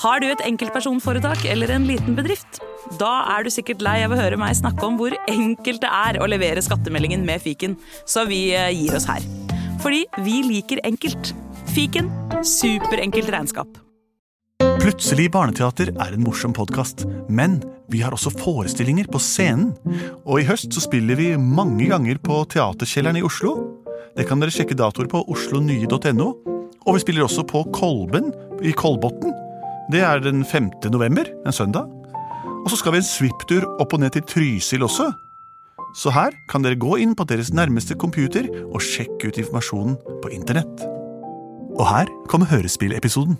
Har du et enkeltpersonforetak eller en liten bedrift? Da er du sikkert lei av å høre meg snakke om hvor enkelt det er å levere skattemeldingen med fiken, så vi eh, gir oss her. Fordi vi liker enkelt. Fiken superenkelt regnskap. Plutselig barneteater er en morsom podkast, men vi har også forestillinger på scenen. Og i høst så spiller vi mange ganger på Teaterkjelleren i Oslo. Det kan dere sjekke datoer på oslonye.no. Og vi spiller også på Kolben i Kolbotn. Det er den 5. november, en søndag. Og så skal vi en svipptur opp og ned til Trysil også. Så her kan dere gå inn på deres nærmeste computer og sjekke ut informasjonen på internett. Og her kommer hørespillepisoden.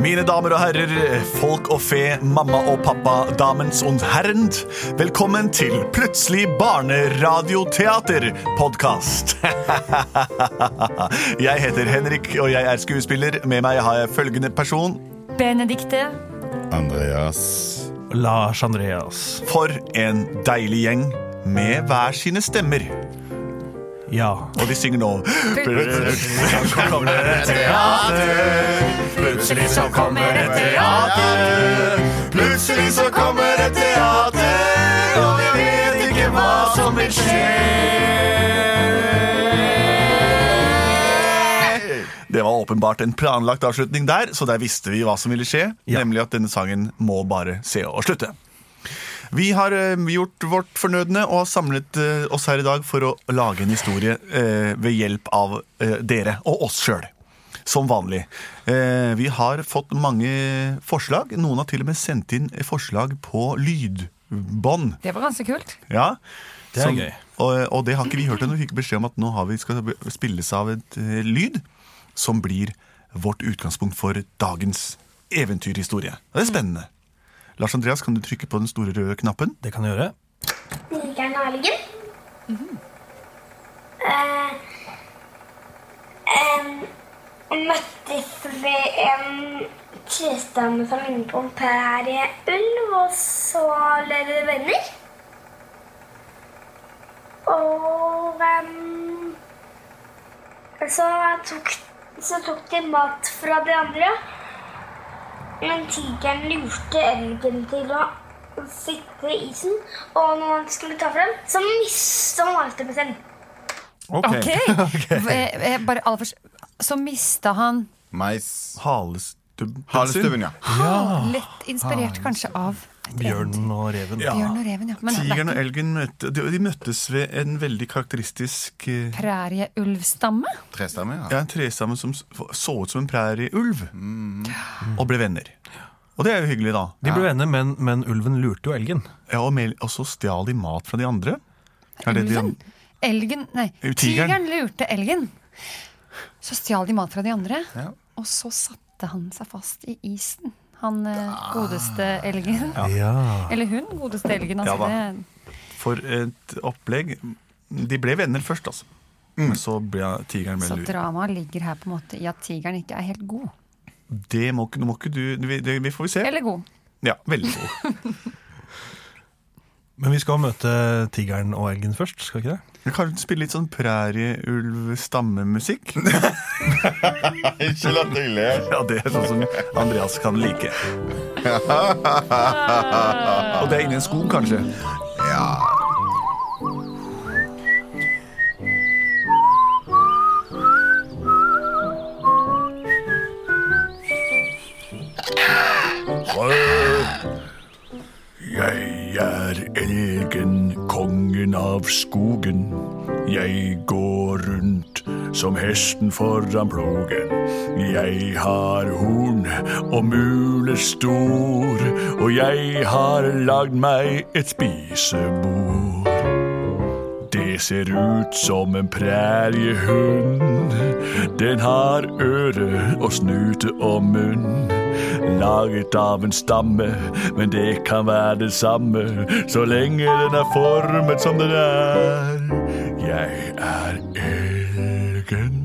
Mine damer og herrer, folk og fe, mamma og pappa, damens und herrend. Velkommen til Plutselig barneradioteater-podkast. jeg heter Henrik, og jeg er skuespiller. Med meg har jeg følgende person. Benedikte. Andreas. Lars Andreas. For en deilig gjeng med hver sine stemmer. Ja. Og de synger nå Plutselig så kommer et teater. Plutselig så kommer et teater, og vi vet ikke hva som vil skje. Det var åpenbart en planlagt avslutning der, så der visste vi hva som ville skje. Ja. Nemlig at denne sangen må bare se og slutte. Vi har eh, gjort vårt fornødne og har samlet eh, oss her i dag for å lage en historie eh, ved hjelp av eh, dere og oss sjøl. Som vanlig. Eh, vi har fått mange forslag. Noen har til og med sendt inn forslag på lydbånd. Det var ganske kult. Ja. Det er gøy. Og, og det har ikke vi hørt ennå. Vi fikk beskjed om at nå har vi skal det spilles av et eh, lyd som blir vårt utgangspunkt for dagens eventyrhistorie. Og Det er spennende. Lars Andreas, kan du trykke på den store røde knappen? Det kan jeg gjøre. Liker den algen? Eh, em, møttes ved en trestamme som ligner på en pære ulv, og så ble vi venner. Og em, så, tok, så tok de mat fra de andre. Men tigeren lurte elgen til å sitte i isen, og når han skulle ta frem, så mista han valgtemmen. Ok! Jeg- jeg Bare aller først Så mista han Mais. Halestubben. Halestubben, ja. Lett inspirert Ah. kanskje av et eventyr. Bjørnen og reven. Ja. Bjørn og reven, ja. Men det er Tigeren og ikke elgen møtte, de, de møttes ved en veldig karakteristisk eh, prærieulvstamme? Trestamme, ja. ja, en trestamme som s- så ut som en prærieulv, og ble venner. Og det er jo hyggelig, da. De ble venner, men, men ulven lurte jo elgen. Ja, og, mel- og så stjal de mat fra de andre. Er det de Ulven? andre- Elgen Nei, Tigeren. tigeren lurte elgen. Så stjal de mat fra de andre, Ja. og så satte han seg fast i isen. Han eh, Ah. godeste elgen. Ja. Eller hun godeste elgen. Altså Ja da. det, For et opplegg. De ble venner først, altså. Men så ble tigeren ble så lur. dramaet ligger her på en måte i at tigeren ikke er helt god. Det må, ikke- nå må ikke du det, det, Vi får se. Eller god. Ja, veldig god. Men vi skal møte tigeren og elgen først, skal vi ikke det? Vi kan spille litt sånn prærieulv-stammemusikk. Ikke la deg le. Ja, det er sånn som Andreas kan like. Og det er inni en skog, kanskje. Jeg er elgen, kongen av skogen. Jeg går rundt som hesten foran plogen. Jeg har horn og muler stor, og jeg har lagd meg et spisebord. Det ser ut som en præriehund. Den har øre og snute og munn. Laget av en stamme, men det kan være det samme så lenge den er formet som den er. Jeg er elgen,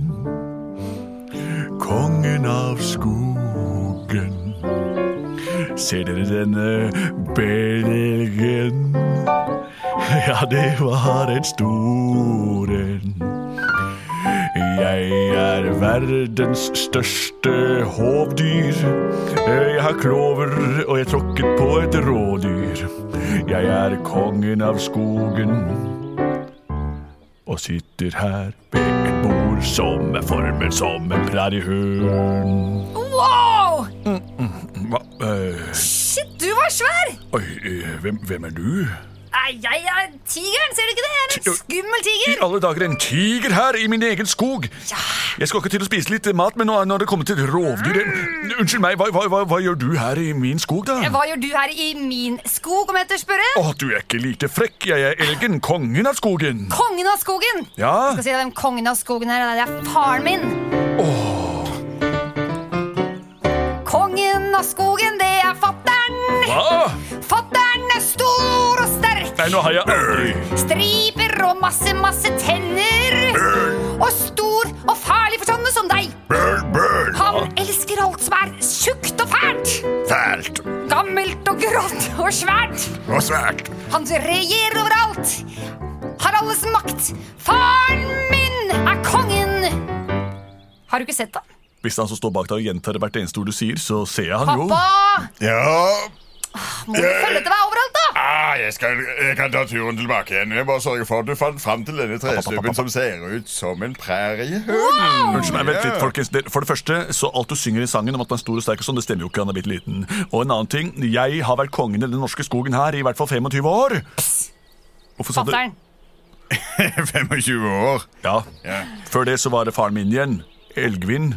kongen av skogen. Ser dere denne belgen? Ja, det var en stor en. Jeg Jeg er verdens største hovdyr. Jeg har klover, og jeg tråkket på et rådyr. Jeg er kongen av skogen og sitter her ved et bord som er formet som en prærihund. Wow! mm, Hva eh, Shit, du var svær! Oi, eh, hvem, hvem er du? Nei, jeg er tigeren, ser du ikke det? Jeg er en skummel I tiger. alle dager, en tiger her i min egen skog. Jeg skal ikke til å spise litt mat, men nå er- nå er det kommet til rovdyr Mm. Unnskyld meg, hva, hva, hva, hva gjør du her i min skog, da? Hva gjør du her i min skog, om jeg tør spørre? Å, du er ikke lite frekk. Jeg er elgen, kongen av skogen. Kongen av skogen! Ja? Jeg skal si deg hvem kongen av skogen er. Det er faren min. Kongen av skogen, det er fattern. Hva? Fattern er stor og sterk. Ah! Nei, nå har jeg aldri Striper og masse, masse tenner. Og stor og farlig for sånne som deg. Burn, burn. Han elsker alt som er tjukt og fælt. Fælt Gammelt og grått og svært. og svært. Han regjerer overalt. Har alles makt. Faren min er kongen. Har du ikke sett han? Hvis han som står bak deg og gjentar hvert eneste ord du sier, så ser jeg han jo. Pappa! Ja, Må du følge etter meg overalt, da? ah, jeg, skal, jeg kan ta turen tilbake igjen. Jeg bare sørger for at du fant fram til denne trestubben som ser ut som en præriehund. Unnskyld meg, vent litt, folkens. Det- For det første, så alt du synger i sangen om at man er stor og sterk og sånn, det stemmer jo ikke, han er bitte liten. Og en annen ting, jeg har vært kongen i den norske skogen her i hvert fall 25 år. Hvorfor sa du- Fatter'n. 25 år. Ja. Ja. Før det så var det faren min igjen, Elgvin.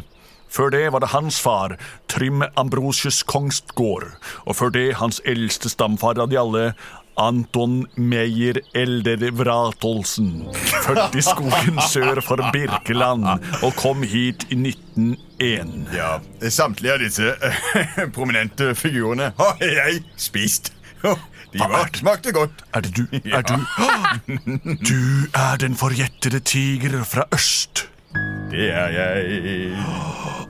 Før det var det hans far, Trym Ambrosius Kongsgård. Og før det hans eldste stamfar av de alle, Anton Meyer Elder Vratolsen. Født i skogen sør for Birkeland og kom hit i 1901. Ja, samtlige av disse eh, prominente figurene har jeg spist. De var, smakte godt. Er det du? Er du? Du er den forjettede tiger fra øst. Det er jeg.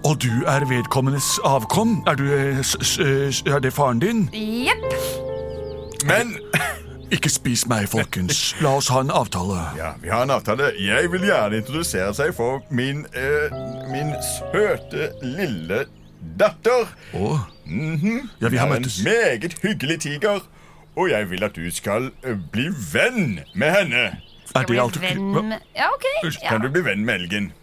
Og du er vedkommendes avkom. Er, du, eh, s s s- er det faren din? Jepp. Men Ikke spis meg, folkens. La oss ha en avtale. ja, vi har en avtale. Jeg vil gjerne introdusere seg for min, eh, min søte lille datter. Å? Ja, vi har er møttes. En meget hyggelig tiger. Og jeg vil at du skal eh, bli venn med henne. Er det, Jeg alt, blir venn med Ja, ok. Ja. Kan du bli venn med elgen?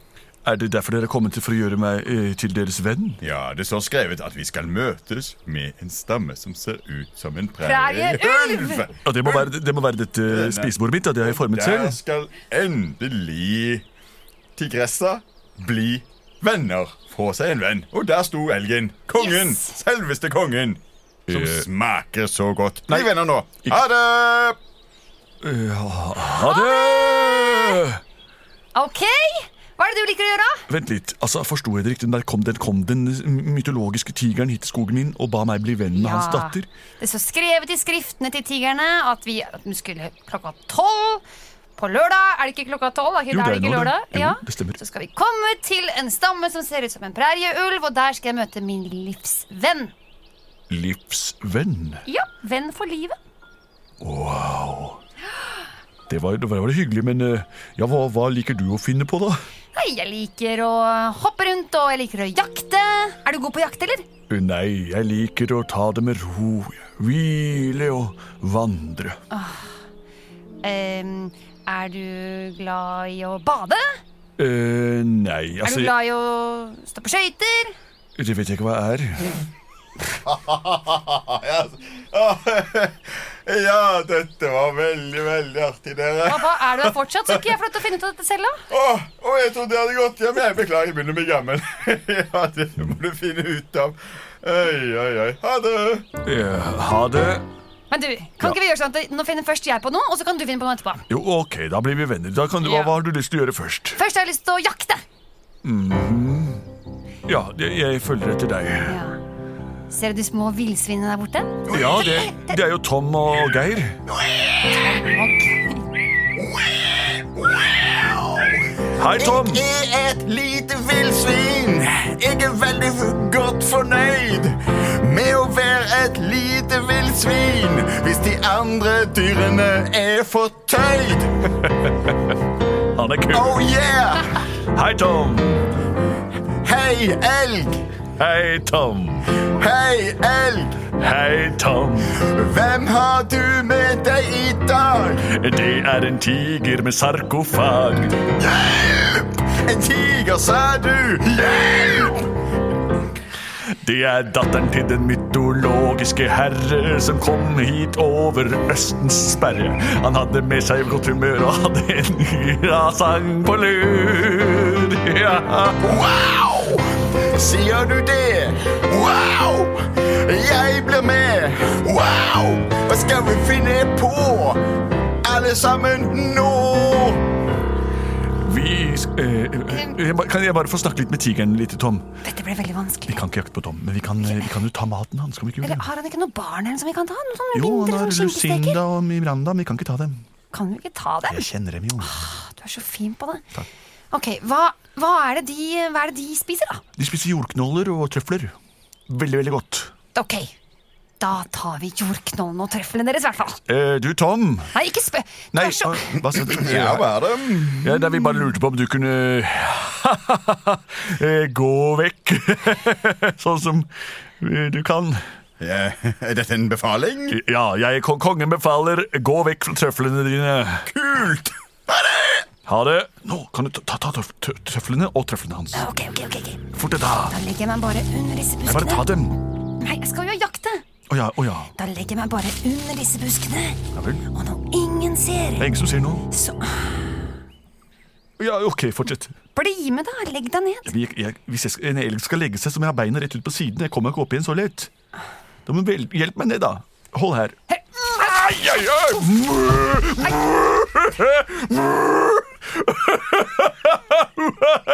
er det derfor dere er kommet til for å gjøre meg eh, til deres venn? Ja, det står skrevet at vi skal møtes med en stamme som ser ut som en Prærieulv! prærieulv. Ja, det, må være, det må være dette spisebordet mitt. Ja, det har jeg formet Der selv. skal endelig tigressa bli venner. Få seg en venn. Og der sto elgen. Kongen. Yes. Selveste kongen. Som Eh. smaker så godt. Bli venner nå. Ha det! Ha det! Ok. Hva er det du liker å gjøre? Vent litt. altså, Forsto jeg det riktig? Der kom den, kom den mytologiske tigeren hit til skogen min og ba meg bli venn med hans datter? Ah, Det står skrevet i skriftene til tigrene at vi at den skulle klokka tolv på lørdag. Er det ikke klokka tolv? da? Jo, Er det er nå ikke det. lørdag? Jo, Ja. det stemmer. Så skal vi komme til en stamme som ser ut som en prærieulv, og der skal jeg møte min livsvenn. Livsvenn. Ja, venn for livet. Det var, det var hyggelig, men eh, ja, hva, hva liker du å finne på, da? Nei, jeg liker å hoppe rundt, og jeg liker å jakte. Er du god på jakt, eller? Nei, jeg liker å ta det med ro, hvile og vandre. Ehm, er du glad i å bade? Eh, nei, Er altså du glad i å stå på skøyter? Det vet jeg ikke hva jeg er. Ja, ja. ja, dette var veldig, veldig artig, dere. Pappa, er du her fortsatt? Skal ikke jeg få lov til å finne ut av dette selv, da? Åh, åh, jeg trodde jeg hadde gått hjem. Jeg beklager, jeg begynner å bli gammel. ja, det må du finne ut av. Oi, oi, oi. Ha det. Eh, ha det. Men du, kan ikke vi gjøre sånn at nå finner først jeg på noe, og så kan du finne på noe etterpå? Jo, ok, da blir vi venner. Da kan du, Ja. Hva har du lyst til å gjøre først? Først har jeg lyst til å jakte. Ja, jeg, jeg følger etter deg. Ser du de små villsvinene der borte? Ja, det, det er jo Tom og Geir. Hei, Tom. er et lite villsvin. Jeg er veldig godt fornøyd med å være et lite villsvin hvis de andre dyrene er fortøyd. Han er kul. Oh yeah! Hei, Tom. Hei, elg! Hei, Tom. Hei, elg! Hei, Tom. Hvem har du med deg i dag? Det er en tiger med sarkofag. En tiger, sa du? Hjelp! Det er datteren til den mytologiske herre som kom hit over Østens sperre. Han hadde med seg godt humør og hadde en sang på lur. Ja. Wow! Sier du det? Wow! Jeg blir med! Wow! Hva skal vi finne på? Alle sammen nå! Vi sk- eh, eh, jeg ba- Kan jeg bare få snakke litt med tigeren, lite, Tom? Dette ble veldig Vi vanskelig. kan ikke jakte på Tom, men vi kan, eh, vi kan jo ta maten hans. Kan vi ikke gjøre Eller det? har han ikke noe barn eller noe som vi kan ta? Noe sånn Jo, han mindre har sånn skinkesteker? Lucinda og Miranda, men vi kan ikke ta dem. Kan vi ikke ta dem? Jeg kjenner dem jo. Du er så fin på det. Ok, hva, hva, er det de, hva er det de spiser, da? De spiser jordknoller og trøfler. Veldig, veldig godt. Ok, da tar vi jordknollen og trøflene deres, i hvert fall. Eh, du, Tom. Nei, ikke spø... Du Nei, ah, er så hva- hva sa du? Ja, hva er det? Ja, da vi bare lurte på om du kunne eh, gå vekk. sånn som eh, du kan. Ja, er dette en befaling? Ja, jeg kon- kongen befaler, gå vekk fra trøflene dine. Kult! Ha det. Nå kan du ta, ta, ta trøf- trø- trøflene og trøflene hans. Ok, ok, ok. ok. Fort deg, da. Da legger jeg meg bare under disse Nei, Bare ta buskene. dem. Nei, jeg skal jo jakte. Å ja, å ja. Da legger jeg meg bare under disse buskene. Ja vel. Og når ingen ser, Det er ingen som sier noe. så Ja, OK, fortsett. bli med, da. Legg deg ned. Jeg, jeg, hvis jeg, skal- en elg skal legge seg, så må jeg ha beina rett ut på siden. Jeg kommer ikke opp igjen så lett. Da må du vel, hjelp meg ned, da. Hold her. Ai, ai, ai!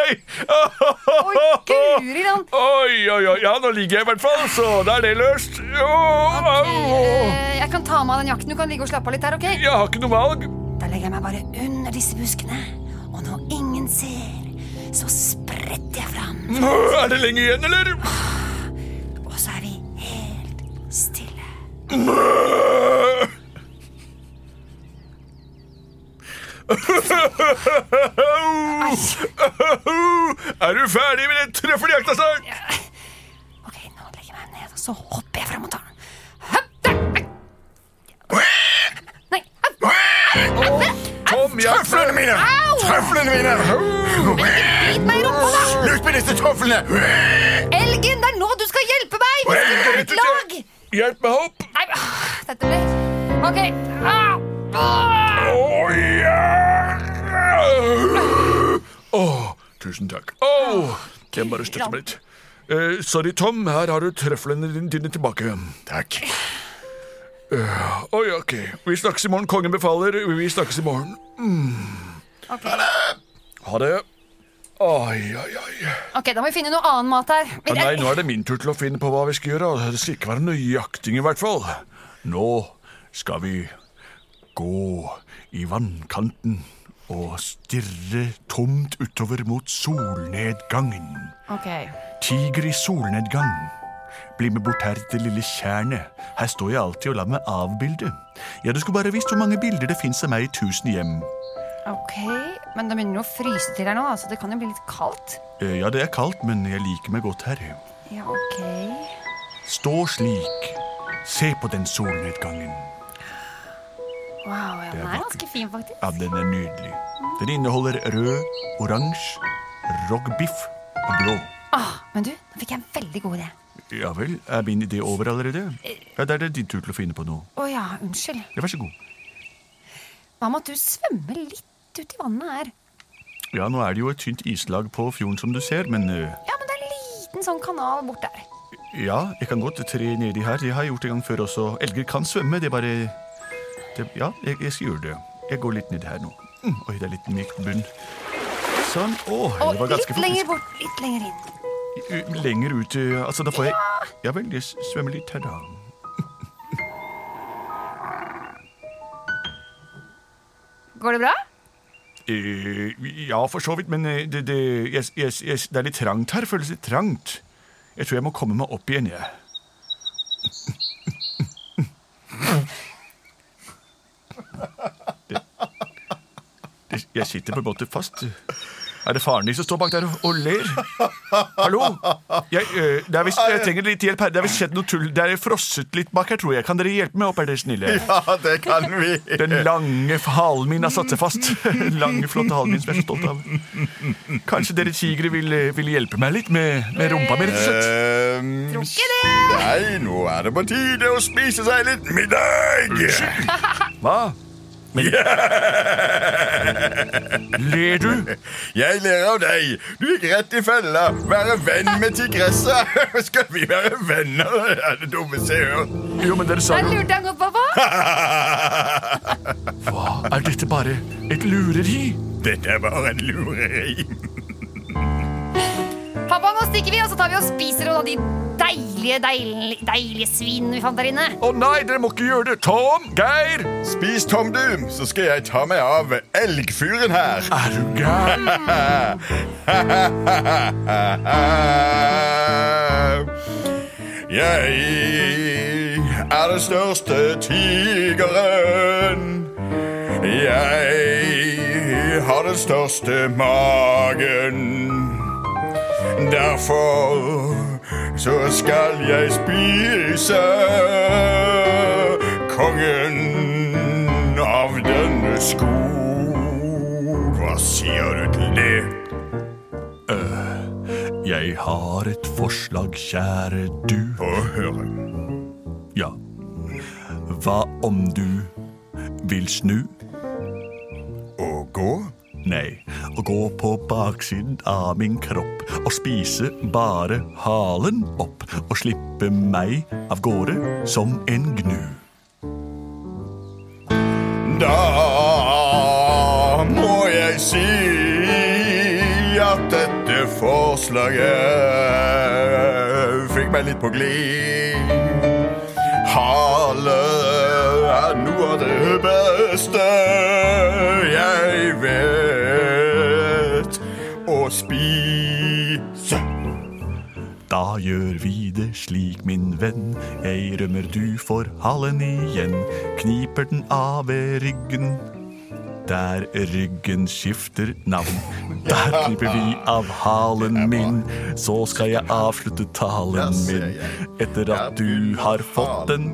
Oi, guri land. Oi, oi, oi. Ja, nå ligger jeg i hvert fall, så da er det løst. Åh, Eh, Jeg kan ta med av den jakten. Du kan ligge og slappe av litt her, ok? Jeg har ikke noe valg. Da legger jeg meg bare under disse buskene, og når ingen ser, så spretter jeg fram, Er det lenge igjen, eller? og så er vi helt stille. Er du ferdig med den trøffeljakta snart? Ok, nå legger jeg meg ned, og så hopper jeg fram og tar den. Nei, au, Tom, jeg Trøflene mine! altså, Au! Trøflene mine! bit meg i rumpa, da! Slutt med disse trøflene! Elgen, det er nå du skal hjelpe meg! Vi skal være et lag! Hjelp meg opp. Nei, ah, dette ble Ok. Ah! Ah! Åh, ja. Åh, tusen takk. Åh, jeg bare støtter meg litt. Eh, sorry, Tom. Her har du trøflene dine, dine tilbake. Eh, Takk. Oi, ok. Vi snakkes i morgen. Kongen befaler. Vi snakkes i morgen. Ok. Ha det. Oi, oi, oi. ok, da må vi finne noe annen mat her. Ja, nei, nå er det min tur til å finne på hva vi skal gjøre. og Det skal ikke være noe jakting, i hvert fall. Nå skal vi gå i vannkanten og stirre tomt utover mot solnedgangen. Ok, Tiger i solnedgang. Bli med bort her til det lille tjernet. Her står jeg alltid og lar meg avbilde. Ja, du skulle bare visst hvor mange bilder det fins av meg i tusen hjem. ok. Men det begynner jo å fryse til her nå, da, så det kan jo bli litt kaldt. Eh, Ja, det er kaldt, men jeg liker meg godt her. Ja, ok. Stå slik. Se på den solnedgangen. Wow, ja, den er ganske fin, faktisk. Ja, den er nydelig. Den inneholder rød, oransje, rogbiff og blå. Ah, men du, nå fikk jeg en veldig god idé. Ja vel, er min idé over allerede? Ja, Da er det din tur til å finne på noe. Å ja, unnskyld. Ja, Vær så god. Hva med at du svømmer litt ut i vannet her? Ja, nå er det jo et tynt islag på fjorden som du ser, men eh, Ja, men det er en liten sånn kanal bort der. ja, jeg kan godt tre nedi her. Det har jeg gjort en gang før også. Elger kan svømme, det er bare det, Ja, jeg, jeg skal gjøre det. Jeg går litt nedi her nå. Mm, oi, det er litt myk bunn. Sånn. Å, Og det var litt ganske lenger bort, litt lenger inn. U- Lenger ut eh, Altså, da får jeg Ja vel, jeg s- svømmer litt her, da. Går det bra? Eh, ja, for så vidt, men eh, det, det, jeg, jeg, jeg, det er litt trangt her. Føles litt trangt. Jeg tror jeg må komme meg opp igjen, jeg. Det, det, jeg sitter på en måte fast. Er det faren din som står bak der og, og ler? Hallo? Jeg, øh, det er visst, jeg trenger litt hjelp her. Det er visst skjedd noe tull. Det er frosset litt bak her, tror jeg. Kan dere hjelpe meg opp, er dere snille? Ja, det kan vi. Den lange halen min har satt seg fast. Den lange, flotte halen min som jeg er så stolt av. Kanskje dere tigre vil, øh, vil hjelpe meg litt med, med rumpa mi, rett og slett? Ehm, Tror ikke det. nei, nå er det på tide å spise seg litt middag! Hva? Ler du? Jeg ler av deg. Du gikk rett i fella. Være venn med tigressa. Skal vi være venner? Det er det dummeste jeg har hørt. Jo, men dere sa Da jo lurte han godt på hva. Hva? Er dette bare et lureri? Dette er bare en lureri. Pappa, nå stikker vi, og så tar vi og spiser noen av de deilige, deilige, deilige svinene vi fant der inne. Å nei, dere må ikke gjøre det! Tom! Geir! Spis Tom Doom, så skal jeg ta meg av elgfyren her. Er du gæren? Jeg er den største tigeren. Jeg har den største magen. Derfor så skal jeg spise kongen av denne skog. Hva sier du til det? Jeg har et forslag, kjære du. Få høre. Ja. Hva om du vil snu? Å gå? Nei, å gå på baksiden av min kropp og spise bare halen opp og slippe meg av gårde som en gnu. Da må jeg si at dette forslaget fikk meg litt på glid. Hale er noe av det beste jeg vet å spise. Da gjør vi det slik, min venn. Jeg rømmer, du får halen igjen. Kniper den av ved ryggen. Der ryggen skifter navn. Der kniper vi av halen min. Så skal jeg avslutte talen min. Etter at du har fått den,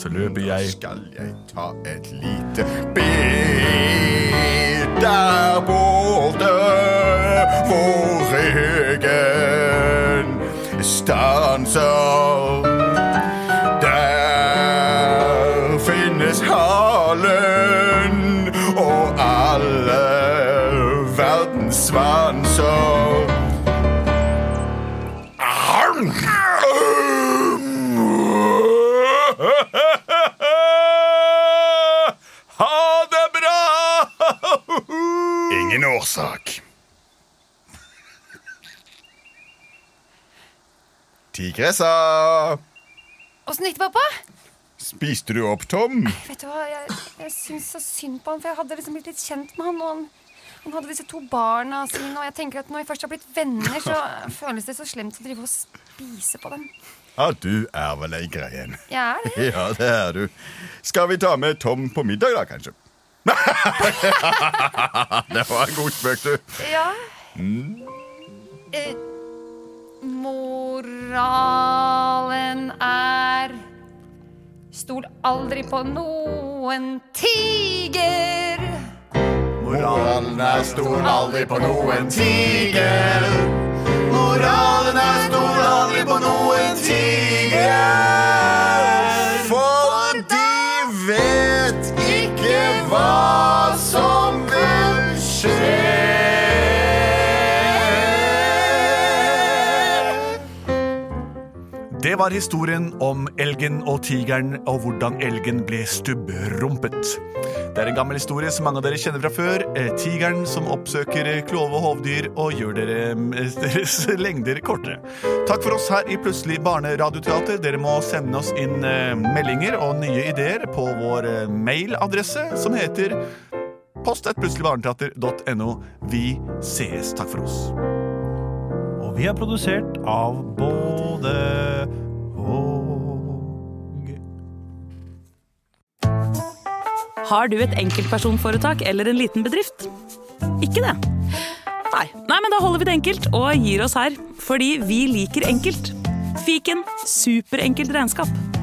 så løper jeg Skal jeg ta et lite bit der borte? Hvor ryggen stanser. Der finnes halen og alle verdens svanser. Ha det bra! Ingen årsak. Tigressa! Åssen gikk det, pappa? Spiste du opp, Tom? Vet du hva, Jeg, jeg syns så synd på han, for jeg hadde liksom blitt litt kjent med han. Og han, han hadde disse to barna sine, og jeg tenker at når vi først har blitt venner, så føles det så slemt å drive og spise på dem. Ja, du er vel ei greien. Jeg er det. Ja, det er du. Skal vi ta med Tom på middag, da, kanskje? det var en god spøk, du. Ja. Eh, moralen er Stol aldri på noen tiger. Moralen er stol aldri på noen tiger. Moralen er stol aldri på noen tiger. For de vet ikke hva som vil skje. Det var historien om elgen og tigeren og hvordan elgen ble stubbrumpet. Det er en gammel historie som mange av dere kjenner fra før. Eh, Tigeren som oppsøker eh, klove og hovdyr og gjør dere mm, deres lengder kortere. Takk for oss her i Plutselig barneradioteater. Dere må sende oss inn eh, meldinger og nye ideer på vår eh, mailadresse som heter post.plutseligbarneteater.no. Vi sees. Takk for oss. Og vi er produsert av både og Har du et enkeltpersonforetak eller en liten bedrift? Ikke det. nei. Nei, men da holder vi det enkelt og gir oss her. Fordi vi liker enkelt. Fiken superenkelt regnskap.